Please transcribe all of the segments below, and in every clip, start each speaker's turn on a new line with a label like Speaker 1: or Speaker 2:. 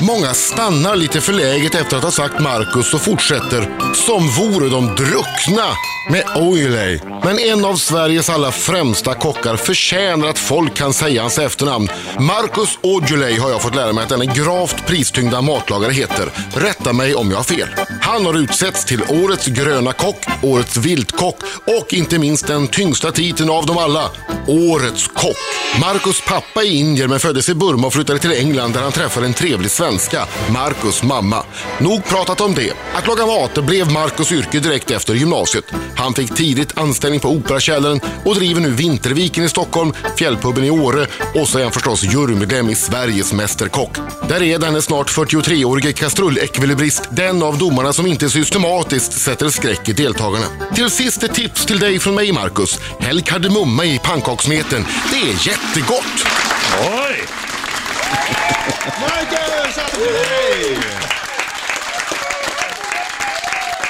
Speaker 1: Många stannar lite förläget efter att ha sagt Marcus och fortsätter som vore de druckna med Oiley. Men en av Sveriges alla främsta kockar förtjänar att folk kan säga hans efternamn. Marcus Aujalay har jag fått lära mig att denna gravt pristyngda matlagare heter. Rätta mig om jag har fel. Han har utsetts till Årets gröna kock, Årets viltkock och inte minst den tyngsta titeln av dem alla, Årets kock. Marcus pappa är indier men föddes i Burma och flyttade till England där han träffade en trevlig svenska, Marcus mamma. Nog pratat om det. Att laga mat blev Marcus yrke direkt efter gymnasiet. Han fick tidigt anställning på Operakällaren och driver nu Vinterviken i Stockholm, Fjällpubben i Åre och så är han förstås jurymedlem i Sveriges Mästerkock. Där är denne snart 43-årige kastrullekvilibrist den av domarna som inte systematiskt sätter skräck i deltagarna. Till sist ett tips till dig från mig Marcus. Häll kardemumma i pannkakssmeten. Det är jättegott!
Speaker 2: Oj!
Speaker 3: Marcus Attefjärd!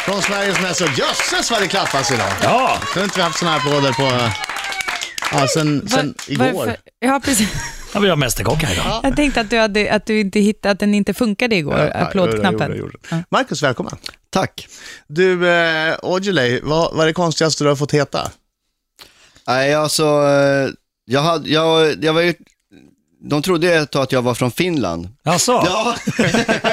Speaker 3: Från Sveriges mest... Jösses vad det klappas idag!
Speaker 2: Ja,
Speaker 3: Jag tror inte vi haft såna här applåder på... Ja, sen, sen igår.
Speaker 4: Varför? Ja, precis.
Speaker 2: ja, vi har mästerkock här idag.
Speaker 4: Jag tänkte att du, hade, att du inte hittade, att den inte funkade igår,
Speaker 3: Ja, ja,
Speaker 4: applådknappen.
Speaker 3: gjorde, gjorde,
Speaker 4: Ja.
Speaker 3: gjorde. Marcus, välkommen. Tack. Du, eh, Aujalay, vad, vad är det konstigaste du har fått heta?
Speaker 5: Nej, alltså, eh, jag, hade, jag, jag var ju, de trodde ju ett tag att jag var från Finland.
Speaker 2: Jaså?
Speaker 5: Ja,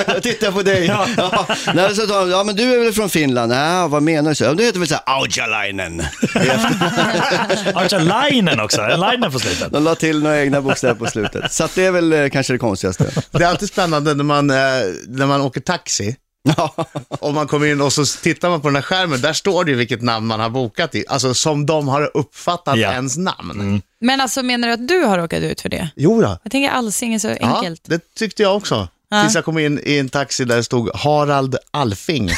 Speaker 5: jag tittar på dig. Ja. Nej, så sa de, ja men du är väl från Finland? Ja, vad menar du? Så, ja, men du heter väl såhär Aujalainen.
Speaker 2: Archer Linen också, en linen på slutet.
Speaker 5: De la till några egna bokstäver på slutet. Så att det är väl eh, kanske det konstigaste.
Speaker 3: Det är alltid spännande när man, eh, när man åker taxi
Speaker 5: Ja,
Speaker 3: och man kommer in och så tittar man på den här skärmen, där står det ju vilket namn man har bokat i. Alltså som de har uppfattat
Speaker 2: Ja. Mm.
Speaker 3: ens namn.
Speaker 4: Men alltså menar du att du har råkat ut för det?
Speaker 3: Jo då.
Speaker 4: Jag tänker alls inget så enkelt.
Speaker 3: Ja, det tyckte jag också. Tills jag kom in i en taxi där det stod Harald Alfing.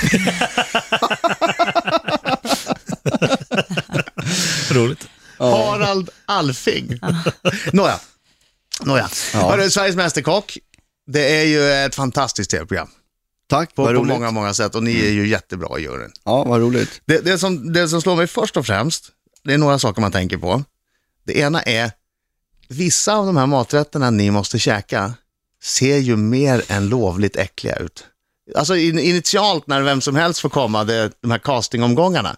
Speaker 2: Roligt.
Speaker 3: Harald Alfing. Nåja. Nåja. Hörru, Sveriges Mästerkock. Det är ju ett fantastiskt tv-program
Speaker 5: tack,
Speaker 3: på,
Speaker 5: vad
Speaker 3: på
Speaker 5: roligt.
Speaker 3: många, många sätt och ni är ju jättebra i juryn.
Speaker 5: Ja, vad roligt.
Speaker 3: Det, det, som, det som slår mig först och främst, det är några saker man tänker på. Det ena är, vissa av de här maträtterna ni måste käka ser ju mer än lovligt äckliga ut. Alltså in, initialt när vem som helst får komma, det, de här castingomgångarna,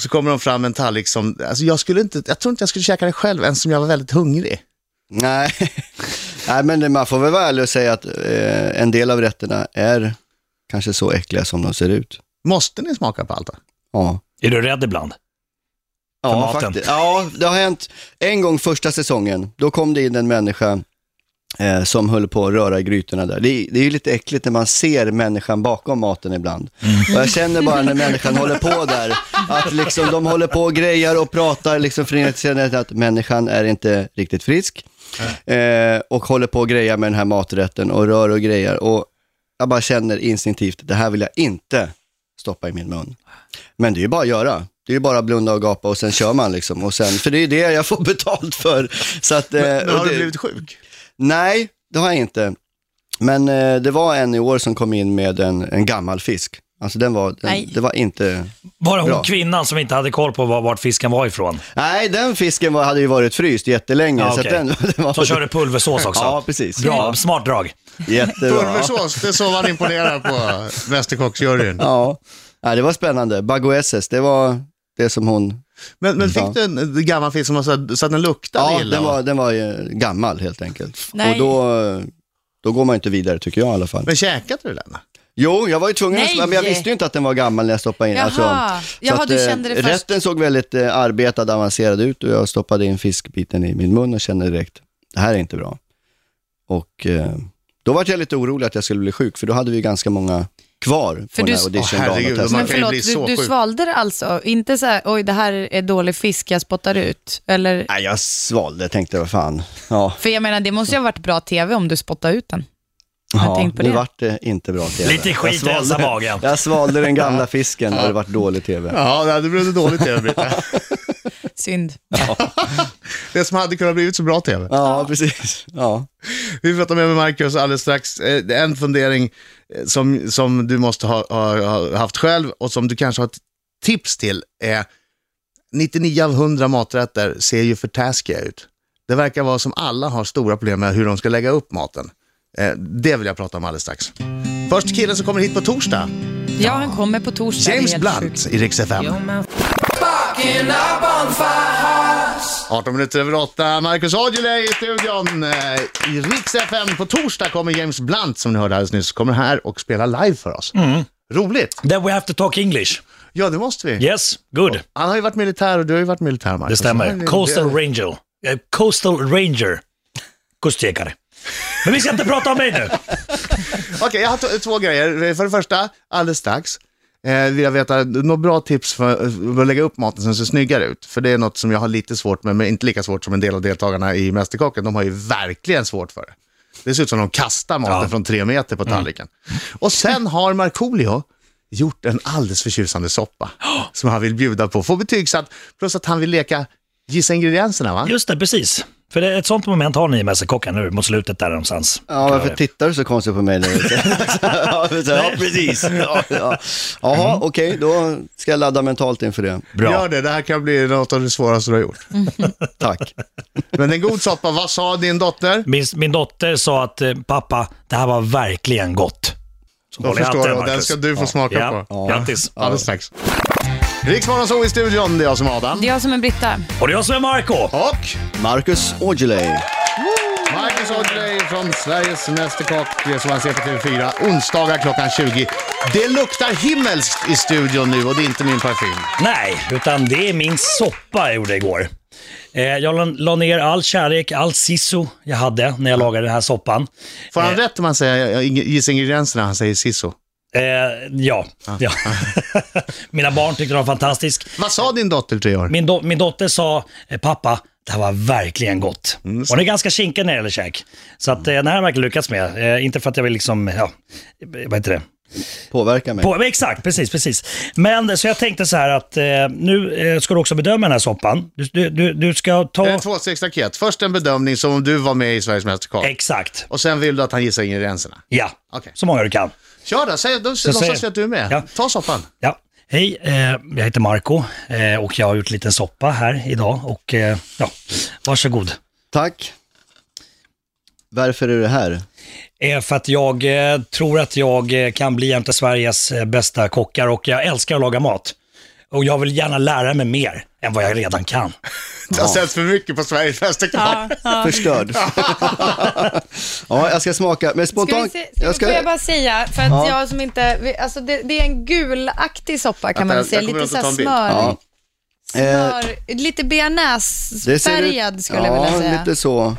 Speaker 3: så kommer de fram med en tallrik som, alltså jag, skulle inte, jag tror inte jag skulle käka det själv ens om jag var väldigt hungrig.
Speaker 5: Nej. Nej, men det- man får väl vara ärlig och säga att eh, en del av rätterna är kanske så äckliga som de ser ut.
Speaker 3: Måste ni smaka på allt? då?
Speaker 5: Ja.
Speaker 2: Är du rädd ibland? För
Speaker 5: Ja,
Speaker 2: maten.
Speaker 5: faktiskt. ja, det har hänt en gång första säsongen. Då kom det in en människa eh, som höll på att röra i grytorna där. Det, är- det är ju lite äckligt när man ser människan bakom maten ibland.
Speaker 2: Mm.
Speaker 5: Och jag känner bara när människan håller på där, att liksom de håller på och grejar och pratar liksom förnekande att människan är inte riktigt frisk. Eh, och håller på och grejar med den här maträtten och rör och grejar. Och jag bara känner instinktivt, det här vill jag inte stoppa i min mun. Men det är ju bara att göra. Det är ju bara att blunda och gapa och sen kör man liksom. Och sen, för det är ju det jag får betalt för. Så att, eh,
Speaker 3: Men
Speaker 5: och
Speaker 3: har du
Speaker 5: det-
Speaker 3: blivit sjuk?
Speaker 5: Nej, det har jag inte. Men eh, det var en i år som kom in med en, en gammal fisk. Alltså den var,
Speaker 4: Nej.
Speaker 5: den, det var inte...
Speaker 2: Var det hon
Speaker 5: Bra.
Speaker 2: kvinnan som inte hade koll på var, vart fisken var ifrån?
Speaker 5: Nej, den fisken var, hade ju varit fryst jättelänge.
Speaker 2: Ja,
Speaker 5: så
Speaker 2: okej.
Speaker 5: att den, den var...
Speaker 2: Som körde pulversås också?
Speaker 5: Ja, precis.
Speaker 2: Bra, smart drag.
Speaker 5: Jättebra.
Speaker 3: Pulversås, det är så man imponerar på Mästerkocksjuryn.
Speaker 5: Ja. ja, det var spännande. Bagoesses, det var det som hon...
Speaker 3: Men, men fick
Speaker 5: Ja.
Speaker 3: du en gammal fisk som var så, här- så att den luktade
Speaker 5: Ja,
Speaker 3: illa?
Speaker 5: den var, den var ju gammal helt enkelt.
Speaker 4: Nej.
Speaker 5: Och då, då går man ju inte vidare tycker jag i alla fall.
Speaker 3: Men käkade du den?
Speaker 5: Jo, jag var ju tvungen att,
Speaker 4: Nej.
Speaker 5: men jag visste ju inte att den var gammal när jag stoppade in. Alltså,
Speaker 4: Jaha.
Speaker 5: så
Speaker 4: Jaha,
Speaker 5: att,
Speaker 4: du
Speaker 5: eh,
Speaker 4: kände det först.
Speaker 5: Rätten såg väldigt eh, arbetad, avancerad ut och jag stoppade in fiskbiten i min mun och kände direkt, det här är inte bra. Och eh, då var jag lite orolig att jag skulle bli sjuk, för då hade vi ganska många kvar på
Speaker 4: För
Speaker 5: den
Speaker 4: du-
Speaker 5: här
Speaker 3: Åh, herregud,
Speaker 5: auditiondagen. att testa.
Speaker 3: man
Speaker 4: Men
Speaker 3: kan ju
Speaker 4: förlåt,
Speaker 3: bli så
Speaker 4: du, du
Speaker 3: sjuk.
Speaker 4: svalde det alltså? Inte så här, oj det här är dålig fisk, jag spottar ut? Eller?
Speaker 5: Nej, jag svalde, tänkte vad fan. Ja,
Speaker 4: För jag menar, det måste ju ha varit bra tv om du spottade ut den. Jag har
Speaker 5: ja
Speaker 4: tänkt på
Speaker 5: nu
Speaker 4: det.
Speaker 5: vart det inte bra TV.
Speaker 2: Lite skit i
Speaker 5: Jag
Speaker 2: hälsa
Speaker 5: svalde,
Speaker 2: magen.
Speaker 5: jag svalde den gamla fisken och det vart dålig TV.
Speaker 3: Ja, det blev dåligt tv, Britta.
Speaker 4: Synd.
Speaker 3: Det som hade kunnat blivit så bra tv.
Speaker 5: Ja, precis. Ja.
Speaker 3: Vi pratar med Marcus alldeles strax. Eh, En fundering eh, som, som du måste ha, ha, ha haft själv och som du kanske har ett tips till är 99 av 100 maträtter ser ju för taskiga ut. Det verkar vara som alla har stora problem med hur de ska lägga upp maten. Eh, det vill jag prata om alldeles strax. Först killen som kommer hit på torsdag,
Speaker 4: Ja, han kommer på torsdag.
Speaker 3: James
Speaker 4: Det är helt sjukt.
Speaker 3: Blunt i Rix FM.
Speaker 4: Jo, men
Speaker 3: 18 minuter över 8, Marcus Aujalay i studion. Eh, I Rix FM på torsdag kommer James Blunt, som ni hörde alldeles nyss, kommer här och spelar live för oss. Roligt!
Speaker 2: Then we have to talk English.
Speaker 3: Mm. Ja, det måste vi.
Speaker 2: Yes, good.
Speaker 3: Han har ju varit militär och du har ju varit militär, Marcus.
Speaker 2: Det
Speaker 3: Han är-
Speaker 2: stämmer. Coastal
Speaker 3: det-
Speaker 2: Ranger. Eh, Coastal Ranger. Kustjägare. Men vi ska inte prata om mig nu.
Speaker 3: Okej, jag har t- två grejer. För det första, alldeles strax, eh, vill jag veta några bra tips för, för att lägga upp maten så den ser snyggare ut. För det är något som jag har lite svårt med, men inte lika svårt som en del av deltagarna i Mästerkocken. De har ju verkligen svårt för det. Det ser ut som de kastar maten
Speaker 2: Ja. Mm.
Speaker 3: från tre meter på tallriken. Och sen har Markoolio gjort en alldeles förtjusande soppa som han vill bjuda på. Få betygsatt, plus att han vill leka gissa ingredienserna va?
Speaker 2: Just det, precis. För det, ett sånt moment har ni i Mästerkocken nu mot slutet där någonstans.
Speaker 5: Ja, varför tittar du så konstigt på mig nu? ja, så- ja, precis. Ja, ja. Jaha, okej, då ska jag ladda mentalt inför det.
Speaker 2: Bra.
Speaker 3: Gör det, det här kan bli något av det svåraste du har gjort.
Speaker 5: Tack.
Speaker 3: Men en god soppa, vad sa din dotter?
Speaker 2: Min, min dotter sa att eh, pappa, det här var verkligen gott. Så
Speaker 3: Då
Speaker 2: håller jag
Speaker 3: förstår
Speaker 2: alltid,
Speaker 3: jag, och den
Speaker 2: Marcus.
Speaker 3: ska du få smaka
Speaker 2: ja.
Speaker 3: på.
Speaker 2: Ja. Grattis.
Speaker 3: Alldeles strax. Riksmorgon så i studion, det är jag som är Adam.
Speaker 4: Det är jag som är Britta.
Speaker 2: Och det är jag som är Marco.
Speaker 3: Och
Speaker 5: Marcus Aujalay.
Speaker 3: Marcus Aujalay från Sveriges Mästerkock, det som man ser på TV4, onsdagar klockan 20. Det luktar himmelskt i studion nu och det är inte min parfym.
Speaker 2: Nej, utan det är min soppa jag gjorde igår. Eh, jag la, la ner all kärlek, all sisso jag hade när jag lagade den här soppan.
Speaker 3: Får han rätt om han säger, gissa ingredienserna, han säger sisso?
Speaker 2: Eh, ja. ja. Mina barn tyckte den var fantastisk.
Speaker 3: Vad sa din dotter tre år?
Speaker 2: Min, do- min dotter sa, eh, pappa, det här var verkligen gott. Hon är ganska kinkig när det gäller käk. Så att, eh, den här har jag verkligen lyckats med. Eh, inte för att jag vill liksom, ja, vad heter det?
Speaker 5: Påverkar mig.
Speaker 2: På, men exakt, precis, precis. Men så jag tänkte så här att eh, nu eh, ska du också bedöma den här soppan. Du, du, du, du ska ta...
Speaker 3: Det är en tvåstegsraket. Först en bedömning som om du var med i Sveriges Mästerkock.
Speaker 2: Exakt,
Speaker 3: Och sen vill du att han gissar ingredienserna.
Speaker 2: ja.
Speaker 3: Okej.
Speaker 2: Så många du kan.
Speaker 3: Kör då, säg, då låtsas vi att du är med.
Speaker 2: Ja.
Speaker 3: Ta soppan.
Speaker 2: Ja. Hej, eh, jag heter Marco eh, och jag har gjort en liten soppa här idag. Och eh, ja, varsågod.
Speaker 5: Tack. Varför är du här?
Speaker 2: Eh, för att jag eh, tror att jag eh, kan bli en av Sveriges eh, bästa kockar och jag älskar att laga mat. Och jag vill gärna lära mig mer än vad jag redan kan.
Speaker 3: Det har setts för mycket på Sveriges Mästerkock.
Speaker 5: Förstörd. ja, jag ska smaka. Men
Speaker 4: Ska vi
Speaker 5: spontant...
Speaker 4: se, ska vi, Får jag bara säga, för att jag som inte, vi- alltså det, det är en gulaktig soppa kan
Speaker 3: Vänta,
Speaker 4: man väl
Speaker 3: jag-
Speaker 4: säga,
Speaker 3: jag kommer runt och
Speaker 4: lite såhär
Speaker 3: tar en
Speaker 4: smör,
Speaker 5: ja,
Speaker 4: smör,
Speaker 5: Eh,
Speaker 4: lite
Speaker 5: det ser ut-
Speaker 4: bearnaisefärgad skulle jag vilja säga. Mm.
Speaker 5: Ja, lite så.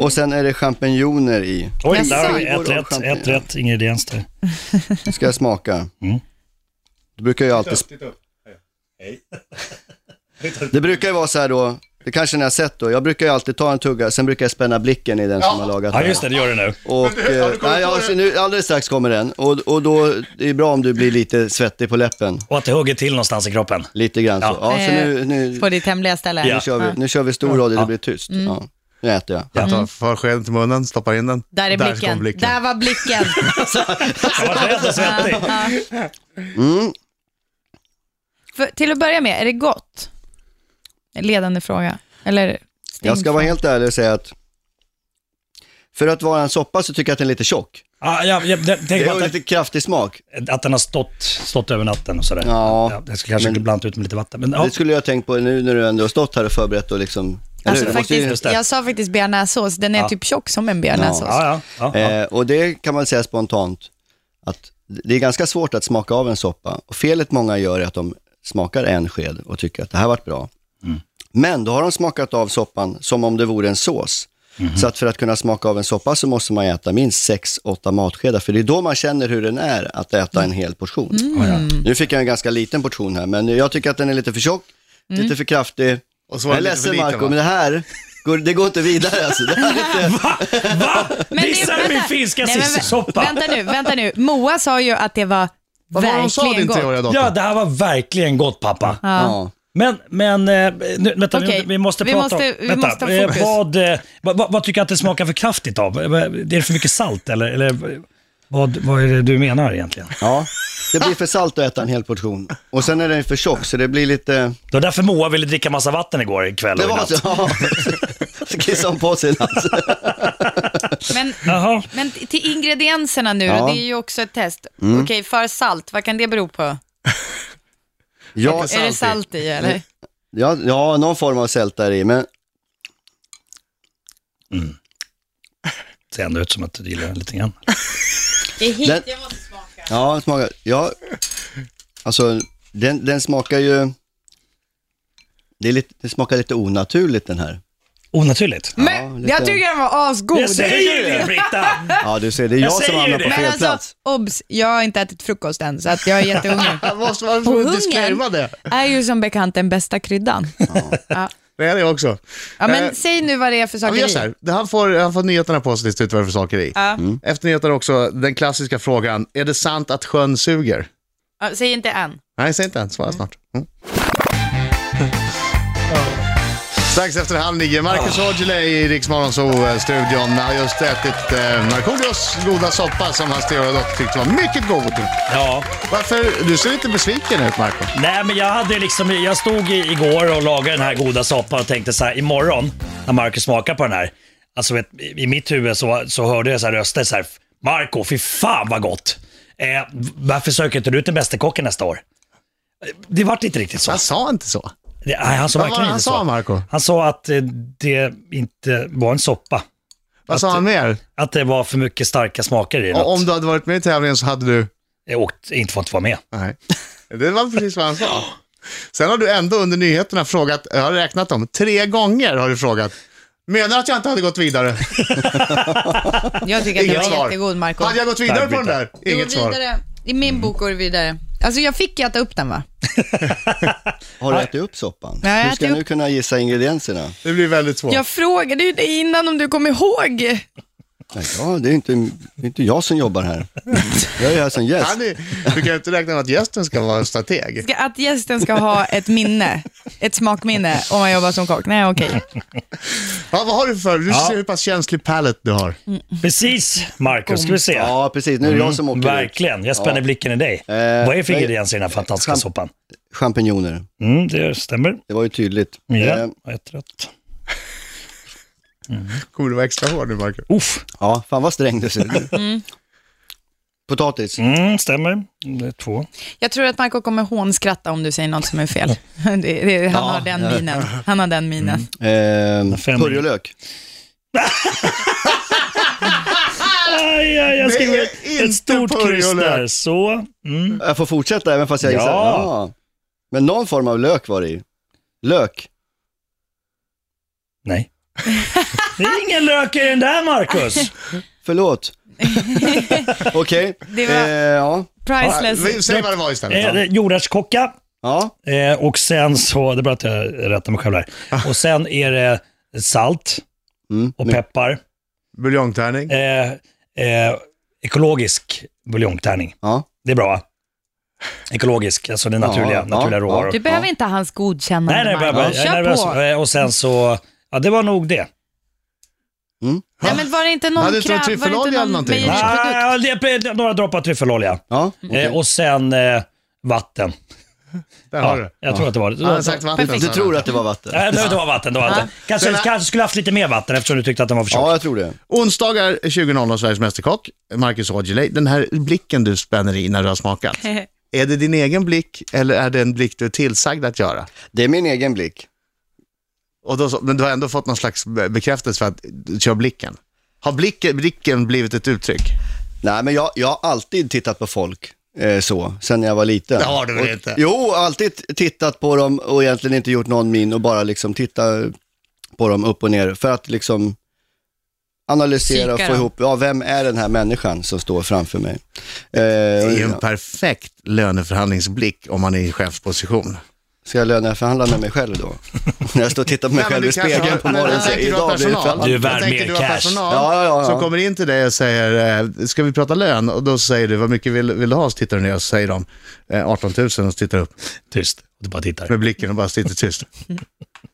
Speaker 5: Och sen är det champinjoner i.
Speaker 2: Oj,
Speaker 4: Jaså?
Speaker 2: där har vi ett
Speaker 5: Vår
Speaker 2: rätt,
Speaker 5: champagne.
Speaker 2: ett rätt ingrediens där.
Speaker 5: Nu ska jag smaka.
Speaker 2: Mm.
Speaker 5: Det brukar ju alltid... Det brukar ju vara så här då, det kanske ni har sett då, jag brukar ju alltid ta en tugga, sen brukar jag spänna blicken i den som har lagat
Speaker 2: Ja, just det, det gör det nu.
Speaker 5: Och, eh, nej, alltså, nu, alldeles strax kommer den. Och, och då, det är bra om du blir lite svettig på läppen.
Speaker 2: Och att det hugger till någonstans i kroppen.
Speaker 5: Lite grann så.
Speaker 2: Ja.
Speaker 5: Ja, så nu, nu,
Speaker 4: På ditt hemliga ställe?
Speaker 2: Ja.
Speaker 5: nu, kör vi, nu kör vi stor radio, det blir tyst.
Speaker 4: Mm.
Speaker 5: Ja. Nu äter jag.
Speaker 3: Jag tar förskeden till munnen, stoppar in den.
Speaker 4: Där är
Speaker 3: Där
Speaker 4: blicken.
Speaker 3: kom
Speaker 4: Där,
Speaker 3: blicken.
Speaker 4: var blicken.
Speaker 2: Jag var rädd och svettig.
Speaker 4: för, till att börja med, är det gott? En Ledande fråga. Eller stängd
Speaker 5: Jag ska vara
Speaker 4: fråga.
Speaker 5: helt ärlig och säga att för att vara en soppa så tycker jag att den är lite tjock.
Speaker 2: Ja, ja, ja, det,
Speaker 5: Det
Speaker 2: tänk
Speaker 5: är
Speaker 2: på att,
Speaker 5: lite kraftig smak.
Speaker 2: att den har stått, stått över natten och sådär.
Speaker 5: Ja.
Speaker 2: jag skulle kanske
Speaker 5: men-
Speaker 2: blanda ut med lite vatten. Men, ja.
Speaker 5: Det skulle jag ha tänkt på nu när du ändå har stått här och förberett och liksom...
Speaker 4: Alltså,
Speaker 5: eller hur? Det måste ju-
Speaker 4: faktiskt,
Speaker 2: det.
Speaker 4: jag sa faktiskt bearnaisesås, den är typ tjock som en bearnaisesås.
Speaker 2: ja, ja, ja, ja.
Speaker 5: Eh, och det kan man säga spontant, att det är ganska svårt att smaka av en soppa. Och felet många gör är att de smakar en sked och tycker att det här varit bra.
Speaker 3: Mm.
Speaker 5: Men då har de smakat av soppan som om det vore en sås.
Speaker 3: Mhm.
Speaker 5: Så att för att kunna smaka av en soppa så måste man äta minst 6-8 matskedar, för det är då man känner hur den är att äta en hel portion. Nu fick jag en ganska liten portion här, men jag tycker att den är lite för tjock, lite för kraftig.
Speaker 3: Och så var
Speaker 5: Jag är
Speaker 3: den lite för
Speaker 5: ledsen
Speaker 3: liten,
Speaker 5: Marco,
Speaker 3: va?
Speaker 5: men det här, går, det går inte vidare alltså. Det här är inte...
Speaker 2: Va? Va? Dissar du min
Speaker 4: vänta.
Speaker 2: finska
Speaker 4: Nej, men vä-
Speaker 2: sissosoppa?
Speaker 4: Vänta nu, vänta nu. Moa sa ju att det var
Speaker 3: Vad var det hon sa
Speaker 4: verkligen
Speaker 3: din
Speaker 4: gott.
Speaker 3: treåriga dotter?
Speaker 2: Ja, det här var verkligen gott pappa.
Speaker 5: Ja.
Speaker 2: Men, men, eh, nu, vänta,
Speaker 4: Okej,
Speaker 2: vi, vi måste
Speaker 4: vi
Speaker 2: prata
Speaker 4: måste-
Speaker 2: om...
Speaker 4: vi
Speaker 2: vänta,
Speaker 4: måste ha
Speaker 2: eh,
Speaker 4: fokus.
Speaker 2: vad, eh, vad, vad, vad tycker du att det smakar för kraftigt av? Eh, vad- Är det för mycket salt eller, eller vad, vad är det du menar egentligen?
Speaker 5: Ja, Det blir för salt att äta en hel portion. Och sen är den för tjock så det blir lite...
Speaker 2: Det var därför Moa ville dricka massa vatten igår kväll
Speaker 5: Det
Speaker 2: och i
Speaker 5: var
Speaker 2: natt.
Speaker 5: så. Ja. Så kissade hon på sig i natt.
Speaker 4: Men,
Speaker 2: Jaha.
Speaker 4: men till ingredienserna nu
Speaker 5: Ja. Mm.
Speaker 4: då, det är ju också ett test. Okej, för salt, vad kan det bero på?
Speaker 5: Ja,
Speaker 4: Är det
Speaker 3: Salt
Speaker 4: salt i eller?
Speaker 5: ja, ja, någon form av sält där i, men
Speaker 2: Ser ändå ut som att du gillar den lite grann.
Speaker 4: Det är hit,
Speaker 5: Den-
Speaker 4: jag måste smaka.
Speaker 5: ja, smakar. Ja, alltså den, den smakar ju... Det, är lite, det smakar lite onaturligt den här.
Speaker 2: Onaturligt.
Speaker 4: Men
Speaker 5: lite-
Speaker 4: jag tycker den var asgod.
Speaker 2: Jag säger ju det Britta!
Speaker 5: Ja, du ser, det är
Speaker 2: Jag
Speaker 5: jag, som
Speaker 2: säger
Speaker 5: hamnar
Speaker 2: det.
Speaker 5: på
Speaker 4: Men
Speaker 5: fel
Speaker 4: alltså,
Speaker 5: plats.
Speaker 4: obs, jag har inte ätit frukost än så att jag är jättehungrig.
Speaker 3: Måste man
Speaker 4: Och
Speaker 3: få
Speaker 4: hungern.
Speaker 3: disclaima det?
Speaker 4: är ju som bekant den bästa kryddan. Ja.
Speaker 3: Det är det också.
Speaker 4: Ja, men
Speaker 3: Eh,
Speaker 4: säg nu vad det är för
Speaker 3: Ja,
Speaker 4: saker
Speaker 3: men gör så
Speaker 4: i.
Speaker 3: här. Det- Han får, han får nyheterna på sig till slut vad det är för saker i.
Speaker 4: Ja.
Speaker 3: Efter nyheterna också den klassiska frågan, är det sant att sjön suger?
Speaker 4: Ja, Säg inte än.
Speaker 3: Nej, säg inte än, svara snart. Mm. Strax efter halv nio, Marcus Aujalay i Rix Morgonzoo-studion har just ätit eh, Markoolios goda soppa som hans stereodock tyckte var mycket god.
Speaker 2: Ja.
Speaker 3: Varför? Du ser lite besviken ut, Marco.
Speaker 2: Nej, men jag hade liksom, jag stod i- igår och lagade den här goda soppan och tänkte så här, imorgon när Marcus smakar på den här, alltså vet, i i mitt huvud så, så hörde jag så här röster så här, Marco, fy fan vad gott! Eh, varför söker inte du till Mästerkocken nästa år? Eh, Det vart inte riktigt så.
Speaker 3: Han sa inte så.
Speaker 2: Det, nej, han sa
Speaker 3: Vad var det
Speaker 2: verkligen
Speaker 3: han
Speaker 2: inte
Speaker 3: sa,
Speaker 2: så.
Speaker 3: Marco?
Speaker 2: Han sa att eh, det inte var en soppa.
Speaker 3: Vad sa han mer?
Speaker 2: Att det var för mycket starka smaker i den.
Speaker 3: Och om du hade varit med i tävlingen så hade du...
Speaker 2: Jag åkt, inte fått vara med.
Speaker 3: Nej. Det var precis vad han sa. Sen har du ändå under nyheterna frågat, jag har räknat dem, tre gånger har du frågat. Menar du att jag inte hade gått vidare?
Speaker 4: Jag tycker att
Speaker 3: Inget
Speaker 4: den var
Speaker 3: svar.
Speaker 4: jättegod, Marco.
Speaker 3: Hade jag gått vidare
Speaker 2: Tack,
Speaker 3: på den
Speaker 2: Britta.
Speaker 3: där?
Speaker 4: Du går
Speaker 3: Inget svar. Mm.
Speaker 4: vidare. I min bok går du vidare. Alltså jag fick ju äta upp den va?
Speaker 5: Har du ätit upp soppan?
Speaker 4: Nej, jag
Speaker 5: Hur ska
Speaker 4: äter
Speaker 5: jag nu kunna gissa ingredienserna?
Speaker 3: Det blir väldigt svårt.
Speaker 4: Jag frågade ju dig innan om du kom ihåg.
Speaker 5: Nej, Ja, det är inte, det är inte jag som jobbar här. Jag är här som gäst.
Speaker 3: Han är, du kan ju inte räkna med att gästen ska vara en strateg.
Speaker 4: Ska- Att gästen ska ha ett minne, ett smakminne om man jobbar som kock. Nej okej.
Speaker 3: Ja, vad har du för, du ser hur pass känslig pallet du har.
Speaker 4: Mm.
Speaker 2: Precis, Marcus, ska vi se.
Speaker 5: Ja, precis. Nu är det jag som åker ut.
Speaker 2: Mm, Verkligen, jag spänner blicken i dig. Vad är för
Speaker 5: nej.
Speaker 2: ingredienser i den här fantastiska
Speaker 5: Champ-
Speaker 2: soppan?
Speaker 5: Champinjoner.
Speaker 2: Mm, det stämmer.
Speaker 5: Det var ju tydligt. Eh,
Speaker 2: Ja, ett rätt.
Speaker 3: Kommer du vara extra hård nu, Marcus?
Speaker 2: Uff,
Speaker 5: ja fan vad sträng du ser ut. Potatis.
Speaker 2: mm, stämmer. Det är två.
Speaker 4: Jag tror att Marco kommer hånskratta om du säger något som är fel. Det, det, han,
Speaker 5: Ja,
Speaker 4: har den
Speaker 5: ja.
Speaker 4: minen. han har den minen.
Speaker 3: Mm.
Speaker 5: Eh,
Speaker 2: Mm. Fem.
Speaker 5: Purjolök.
Speaker 2: Aj, aj, jag
Speaker 3: Det
Speaker 2: skriver
Speaker 3: är
Speaker 2: ett,
Speaker 3: inte
Speaker 2: ett stort kryss
Speaker 3: purjolök.
Speaker 2: där. Så. Mm.
Speaker 5: Jag får fortsätta även fast jag
Speaker 2: Ja.
Speaker 5: gissar. Ja. Men någon form av lök var det ju. Lök.
Speaker 2: Nej. Det är ingen lök i den där, Marcus.
Speaker 5: Förlåt. Okej.
Speaker 4: Det var-
Speaker 5: Eh, ja.
Speaker 4: Priceless.
Speaker 3: Vi- Säg vad det var istället.
Speaker 2: Eh, det är Jordärtskocka.
Speaker 5: ja.
Speaker 2: Eh, och sen så, det är bra att jag rättar mig själv där.
Speaker 5: Ah.
Speaker 2: Och sen är det salt
Speaker 5: Mm.
Speaker 2: och
Speaker 5: Men-
Speaker 2: peppar.
Speaker 3: Buljongtärning.
Speaker 2: Eh, eh, ekologisk buljongtärning.
Speaker 5: Ja.
Speaker 2: Det är bra. Ekologisk, alltså det naturliga,
Speaker 5: Ja, ja,
Speaker 2: naturliga
Speaker 5: ja.
Speaker 2: råvaror.
Speaker 4: Du behöver inte hans godkännande
Speaker 2: Nej, nej, jag,
Speaker 4: Marco.
Speaker 2: jag, jag är
Speaker 4: Typ Kör
Speaker 2: nervös.
Speaker 4: på.
Speaker 2: Eh, Och sen så, ja det var nog det.
Speaker 4: Nej, men var det inte någon
Speaker 3: Hade du inte
Speaker 4: krä-
Speaker 3: någon tryffelolja
Speaker 4: var det inte
Speaker 3: eller någonting?
Speaker 4: mejeriprodukt?
Speaker 2: Ah, det- några droppar tryffelolja.
Speaker 5: Ja. okej.
Speaker 2: Eh, och sen eh, vatten.
Speaker 3: Där har
Speaker 2: Ja,
Speaker 3: du.
Speaker 2: jag tror att det var det.
Speaker 3: Han har sagt vatten.
Speaker 4: Perfekt.
Speaker 5: Du
Speaker 3: sa han.
Speaker 5: tror att det var vatten?
Speaker 2: Nej, det var vatten. Det var vatten. Kanske,
Speaker 3: Sen-
Speaker 2: kanske skulle haft lite mer vatten eftersom du tyckte att den var för tjock.
Speaker 5: Ja, jag tror det.
Speaker 3: Onsdagar 20.00 Sveriges Mästerkock, Marcus Aujalay. Den här blicken du spänner i när du har smakat. Är det din egen blick eller är det en blick du är tillsagd att göra?
Speaker 5: Det är min egen blick.
Speaker 3: Och då, så- men du har ändå fått någon slags be- bekräftelse för att du kör blicken. Har blicken, blicken blivit ett uttryck?
Speaker 5: Nej, men jag, jag har alltid tittat på folk eh, så, sen jag var liten.
Speaker 3: Det har du väl
Speaker 5: Och-
Speaker 3: inte?
Speaker 5: Jo, alltid tittat på dem och egentligen inte gjort någon min och bara liksom titta på dem upp och ner för att liksom analysera och
Speaker 4: Kika
Speaker 5: få
Speaker 4: dem.
Speaker 5: ihop, ja, vem är den här människan som står framför mig? Eh,
Speaker 3: Det är ju en
Speaker 5: ja.
Speaker 3: perfekt löneförhandlingsblick om man är i chefsposition.
Speaker 5: Ska jag löneförhandla med mig själv då? När jag står och tittar på mig
Speaker 3: Nej, men
Speaker 5: själv i
Speaker 3: du kanske
Speaker 5: spegeln
Speaker 3: har-
Speaker 5: på
Speaker 3: men
Speaker 5: morgonen och
Speaker 3: jag
Speaker 5: säger,
Speaker 3: tänker du har
Speaker 5: idag blir det
Speaker 3: personal.
Speaker 5: förhandling.
Speaker 2: Du är värd
Speaker 3: Jag tänker
Speaker 2: mer
Speaker 3: du har
Speaker 2: cash.
Speaker 3: personal
Speaker 5: Ja, ja, ja,
Speaker 3: som
Speaker 5: ja.
Speaker 3: kommer in till dig och säger, eh, ska vi prata lön? Och då säger du, vad mycket vill, vill du ha? Så tittar du ner och så säger de, eh, 18 000 och så tittar du upp
Speaker 2: Tyst. Du bara tittar.
Speaker 3: med blicken och bara sitter tyst.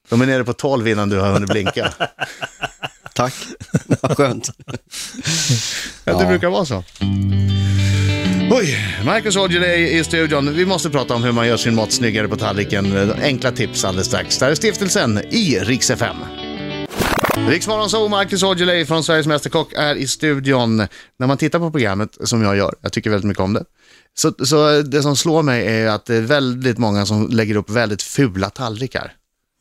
Speaker 3: De är nere på 12 innan du har hunnit blinka.
Speaker 5: Tack, vad skönt.
Speaker 3: Ja. Det
Speaker 5: Ja.
Speaker 3: brukar vara så. Oj, Marcus Aujalay i studion. Vi måste prata om hur man gör sin mat snyggare på tallriken. Enkla tips alldeles strax. Där är stiftelsen i Rix FM. Riksmorgon så Marcus Aujalay från Sveriges Mästerkock är i studion. När man tittar på programmet, som jag gör, jag tycker väldigt mycket om det, så, så det som slår mig är att det är väldigt många som lägger upp väldigt fula tallrikar.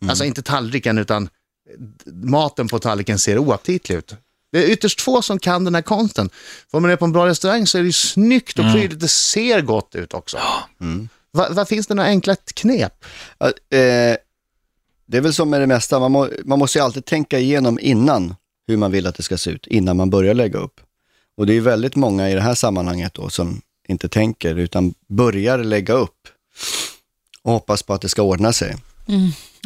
Speaker 3: Alltså inte tallriken, utan maten på tallriken ser oaptitlig ut. Det är ytterst få som kan den här konsten. För om man är på en bra restaurang så är det ju snyggt
Speaker 5: Mm.
Speaker 3: och prydligt, det ser gott ut också. Mm. Va, va, finns det några enkla knep?
Speaker 5: Ja, eh, det är väl som med det mesta, man, må, man måste ju alltid tänka igenom innan hur man vill att det ska se ut, innan man börjar lägga upp. Och det är ju väldigt många i det här sammanhanget då som inte tänker, utan börjar lägga upp och hoppas på att det ska ordna sig.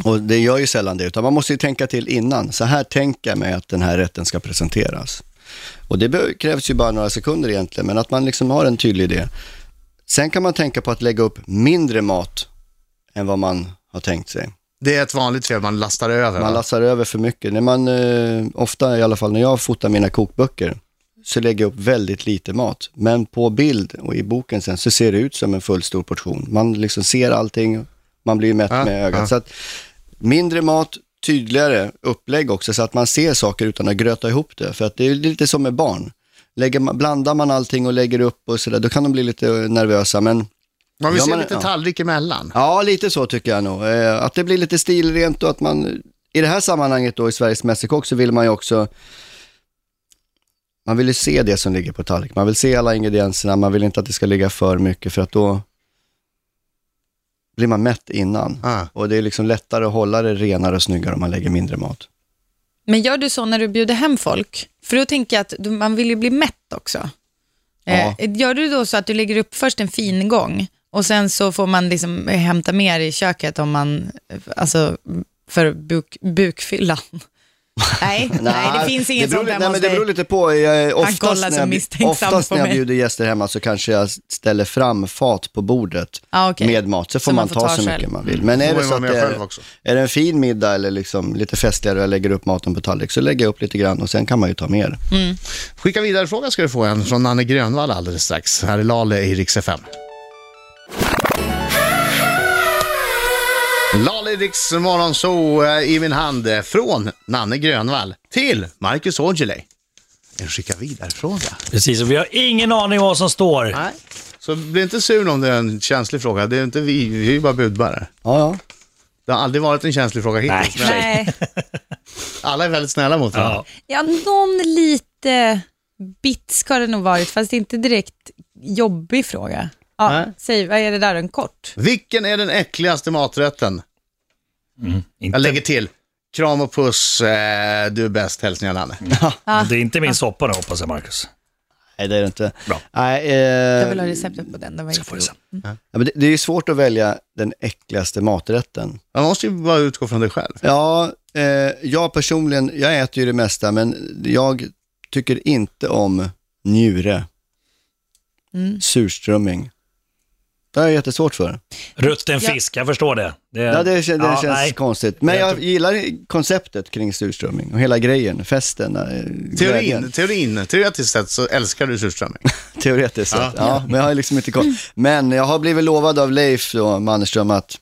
Speaker 5: Och det gör ju sällan det, utan man måste ju tänka till innan. Så här tänker jag mig att den här rätten ska presenteras. Och det be- krävs ju bara några sekunder egentligen, men att man liksom har en tydlig idé. Sen kan man tänka på att lägga upp mindre mat än vad man har tänkt sig.
Speaker 3: Det är ett vanligt fel man lastar över.
Speaker 5: Man
Speaker 3: va?
Speaker 5: lassar över för mycket. När man, eh, ofta i alla fall när jag fotar mina kokböcker, så lägger jag upp väldigt lite mat. Men på bild och i boken sen så ser det ut som en full stor portion. Man liksom ser allting, man blir ju mätt
Speaker 3: Ja,
Speaker 5: med ögat.
Speaker 3: ja.
Speaker 5: Så att, mindre mat, tydligare upplägg också, så att man ser saker utan att gröta ihop det. För att det är lite som med barn. Lägger man, blandar man allting och lägger upp och sådär, då kan de bli lite nervösa. Men
Speaker 3: man vill
Speaker 5: Ja,
Speaker 3: se
Speaker 5: man-
Speaker 3: lite
Speaker 5: ja.
Speaker 3: tallrik emellan.
Speaker 5: Ja, lite så tycker jag nog. Eh, att det blir lite stilrent och att man, i det här sammanhanget då i Sveriges Mästerkock så vill man ju också, man vill ju se det som ligger på tallriken. Man vill se alla ingredienserna, man vill inte att det ska ligga för mycket för att då blir man mätt innan.
Speaker 3: Ah.
Speaker 5: Och det är liksom lättare att hålla det renare och snyggare om man lägger mindre mat.
Speaker 4: Men gör du så när du bjuder hem folk? För då tänker jag att du, man vill ju bli mätt också.
Speaker 5: Ja.
Speaker 4: Eh, gör du då så att du lägger upp först en fin gång och sen så får man liksom eh, hämta mer i köket om man, eh, alltså för buk, bukfyllan? nej, nej, det finns inget
Speaker 5: beror
Speaker 4: sånt
Speaker 5: lite-
Speaker 4: hemma
Speaker 5: nej, men
Speaker 4: hos
Speaker 5: Det beror
Speaker 4: dig.
Speaker 5: lite på. Jag, är-
Speaker 4: kollar
Speaker 5: oftast
Speaker 4: så
Speaker 5: när jag, bjud-
Speaker 4: misstänksamt
Speaker 5: oftast
Speaker 4: på
Speaker 5: när jag
Speaker 4: mig.
Speaker 5: bjuder gäster hemma så kanske jag ställer fram fat på bordet
Speaker 4: Ja, Ah, okej.
Speaker 5: med mat. Så får
Speaker 4: man
Speaker 5: man,
Speaker 4: får
Speaker 5: ta,
Speaker 4: ta
Speaker 5: så
Speaker 4: själv. Mm.
Speaker 5: mycket man vill. Men är
Speaker 3: Får
Speaker 5: det,
Speaker 3: jag
Speaker 5: så
Speaker 3: vara
Speaker 5: att
Speaker 3: med
Speaker 5: det
Speaker 3: själv
Speaker 5: är,
Speaker 3: också?
Speaker 5: är det en fin middag eller liksom lite festligare och jag lägger upp maten på tallrik så lägger jag upp lite grann och sen kan man ju ta
Speaker 4: Mm.
Speaker 5: mer.
Speaker 3: Skicka vidare fråga ska du få en från Nanne Grönvall alldeles strax. Här är Lale i Rix FM. Lale Rix morgon så eh, i min hand eh, från Nanne Grönvall till Marcus Aujalay. En skicka vidare-fråga.
Speaker 2: Precis, och vi har ingen aning om vad som står.
Speaker 3: Nej, så bli inte sur om det är en känslig fråga. Det är inte vi, vi är ju bara budbärare.
Speaker 5: Ja, ja.
Speaker 3: Det har aldrig varit en känslig fråga
Speaker 2: Nej,
Speaker 3: hittills.
Speaker 2: för sig.
Speaker 4: Nej,
Speaker 3: Alla är väldigt snälla mot varandra.
Speaker 2: Ja.
Speaker 4: ja, någon lite bit ska det nog varit, fast inte direkt jobbig fråga. Ja,
Speaker 3: Nej.
Speaker 4: Säg, vad är det där, en kort?
Speaker 3: Vilken är den äckligaste maträtten?
Speaker 2: Inte,
Speaker 3: Jag lägger till. Kram och puss, eh, du är bäst, hälsningar Nanne.
Speaker 2: Det är inte min soppa nu hoppas jag, Marcus.
Speaker 5: Nej, det är det inte.
Speaker 2: Bra.
Speaker 5: Nej, eh,
Speaker 4: Jag vill ha receptet på den. Det var
Speaker 2: Jag får
Speaker 4: jättegod.
Speaker 2: det sen.
Speaker 5: ja, men det, det är ju svårt att välja den äckligaste maträtten.
Speaker 3: Man måste ju bara utgå från dig själv.
Speaker 5: Ja, eh, jag personligen, jag äter ju det mesta, men jag tycker inte om njure. Surströmming. Det har jag jättesvårt för.
Speaker 2: Rutten
Speaker 4: Ja.
Speaker 2: fisk, jag förstår det. det
Speaker 5: Ja, det kän- det
Speaker 2: ja,
Speaker 5: känns
Speaker 2: nej.
Speaker 5: konstigt. Men
Speaker 2: Jag
Speaker 5: jag gillar konceptet kring surströmming och hela grejen, festen, eh,
Speaker 3: Teorin,
Speaker 5: glädjen.
Speaker 3: teorin, teoretiskt sett så älskar du surströmming.
Speaker 5: Teoretiskt sett. Ja. men jag har liksom inte koll. Men jag har blivit lovad av Leif då, Mannerström att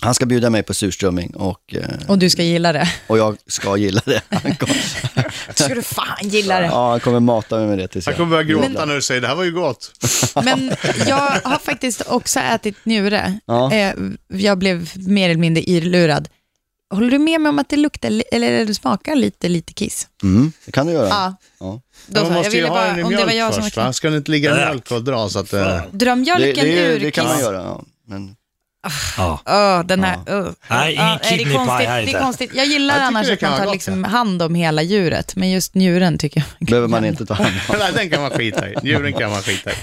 Speaker 5: han ska bjuda mig på surströmming och, eh,
Speaker 4: Och du ska gilla det.
Speaker 5: och jag ska gilla det. Han kom,
Speaker 4: ska du fan gilla det.
Speaker 5: ja, han kommer mata mig med det tills
Speaker 3: Jag
Speaker 5: jag...
Speaker 3: kommer börja gråta
Speaker 4: Men-
Speaker 3: när du säger det här var ju gott.
Speaker 4: Men jag har faktiskt också ätit njure.
Speaker 5: Ja.
Speaker 4: Eh, Jag blev mer eller mindre irlurad. Håller du med mig om att det luktar, li- eller det smakar lite, lite kiss?
Speaker 5: Mm, det kan du göra.
Speaker 4: Ja.
Speaker 5: Ja.
Speaker 4: Då så,
Speaker 3: Man måste ju ha den i
Speaker 4: om det var jag
Speaker 3: mjölk
Speaker 4: som
Speaker 3: först
Speaker 4: var
Speaker 3: va? Ska den inte ligga i
Speaker 2: Ja.
Speaker 3: mjölk och dra så att... eh,
Speaker 2: Fan.
Speaker 4: Dra
Speaker 5: Det,
Speaker 4: mjölken
Speaker 5: det,
Speaker 4: ur
Speaker 5: det kan man
Speaker 4: kiss.
Speaker 5: göra. Ja. Men,
Speaker 2: Ja.
Speaker 4: Åh, den här, uh.
Speaker 2: Nej, ingen
Speaker 4: det,
Speaker 2: kidney
Speaker 4: är
Speaker 2: pie
Speaker 4: konstigt,
Speaker 2: här
Speaker 4: det
Speaker 2: inte.
Speaker 4: är konstigt. Jag gillar
Speaker 3: Jag tycker
Speaker 4: annars
Speaker 3: det
Speaker 4: att
Speaker 3: kan
Speaker 4: man
Speaker 3: vara
Speaker 4: tar
Speaker 3: gott,
Speaker 4: liksom hand om hela djuret, men just njuren tycker jag.
Speaker 5: behöver man inte ta hand om.
Speaker 3: Nej, den kan man skita i. Djuren kan man skita i.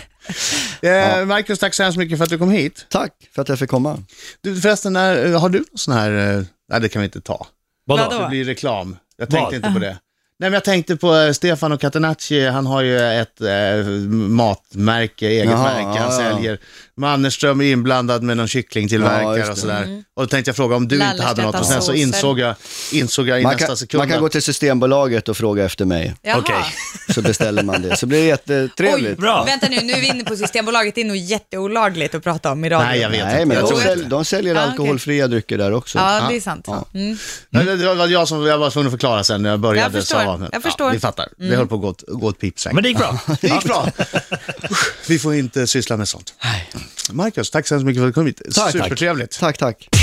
Speaker 3: Eh, Marcus, tack så hemskt mycket för att du kom hit.
Speaker 5: Tack för att jag fick komma.
Speaker 3: Du, förresten, när, eh, har du någon sån här... eh, Nej, det kan vi inte ta.
Speaker 2: Vadå?
Speaker 4: Vadå?
Speaker 3: Det blir reklam. Jag
Speaker 2: Vad?
Speaker 3: tänkte inte på det. Nej, men jag tänkte på eh, Stefano Catenacci, han har ju ett eh, matmärke, eget
Speaker 5: Jaha,
Speaker 3: märke, han
Speaker 5: ja, ja.
Speaker 3: säljer Mannerström är inblandad med någon
Speaker 5: Ja,
Speaker 3: kycklingtillverkare
Speaker 5: just det. Mm.
Speaker 3: och sådär. Och då tänkte jag fråga om du inte hade något och sen så
Speaker 4: Lallerstedtas
Speaker 3: insåg jag, insåg jag i
Speaker 5: Man
Speaker 3: nästa
Speaker 5: kan,
Speaker 3: sekund
Speaker 5: man kan gå till Systembolaget och fråga efter mig,
Speaker 4: Jaha.
Speaker 2: Okej.
Speaker 5: så beställer man det. Så blir det jättetrevligt.
Speaker 4: Oj,
Speaker 2: Bra.
Speaker 4: vänta nu, nu är vi inne på Systembolaget. Det är nog jätteolagligt att prata om i radio.
Speaker 3: Nej, jag vet
Speaker 5: Nej,
Speaker 3: inte.
Speaker 5: men
Speaker 3: Jag
Speaker 5: de,
Speaker 3: tror
Speaker 5: sälj,
Speaker 3: inte.
Speaker 5: de säljer
Speaker 4: Ah, okej.
Speaker 5: alkoholfria drycker där också.
Speaker 4: Ja, det är sant. Mm.
Speaker 3: Nej, det var- det var jag som jag var tvungen att förklara sen när jag började.
Speaker 4: Jag förstår,
Speaker 3: sa-
Speaker 4: jag förstår. Mm.
Speaker 3: Ja, vi fattar. Det höll på att gå åt, gå åt pipsväng.
Speaker 2: Men det gick bra.
Speaker 3: Det gick bra. Vi får inte syssla med sånt. Marcus, tack så hemskt mycket för att du kom hit.
Speaker 5: Tack, tack.
Speaker 3: Supertrevligt.
Speaker 5: Tack, tack.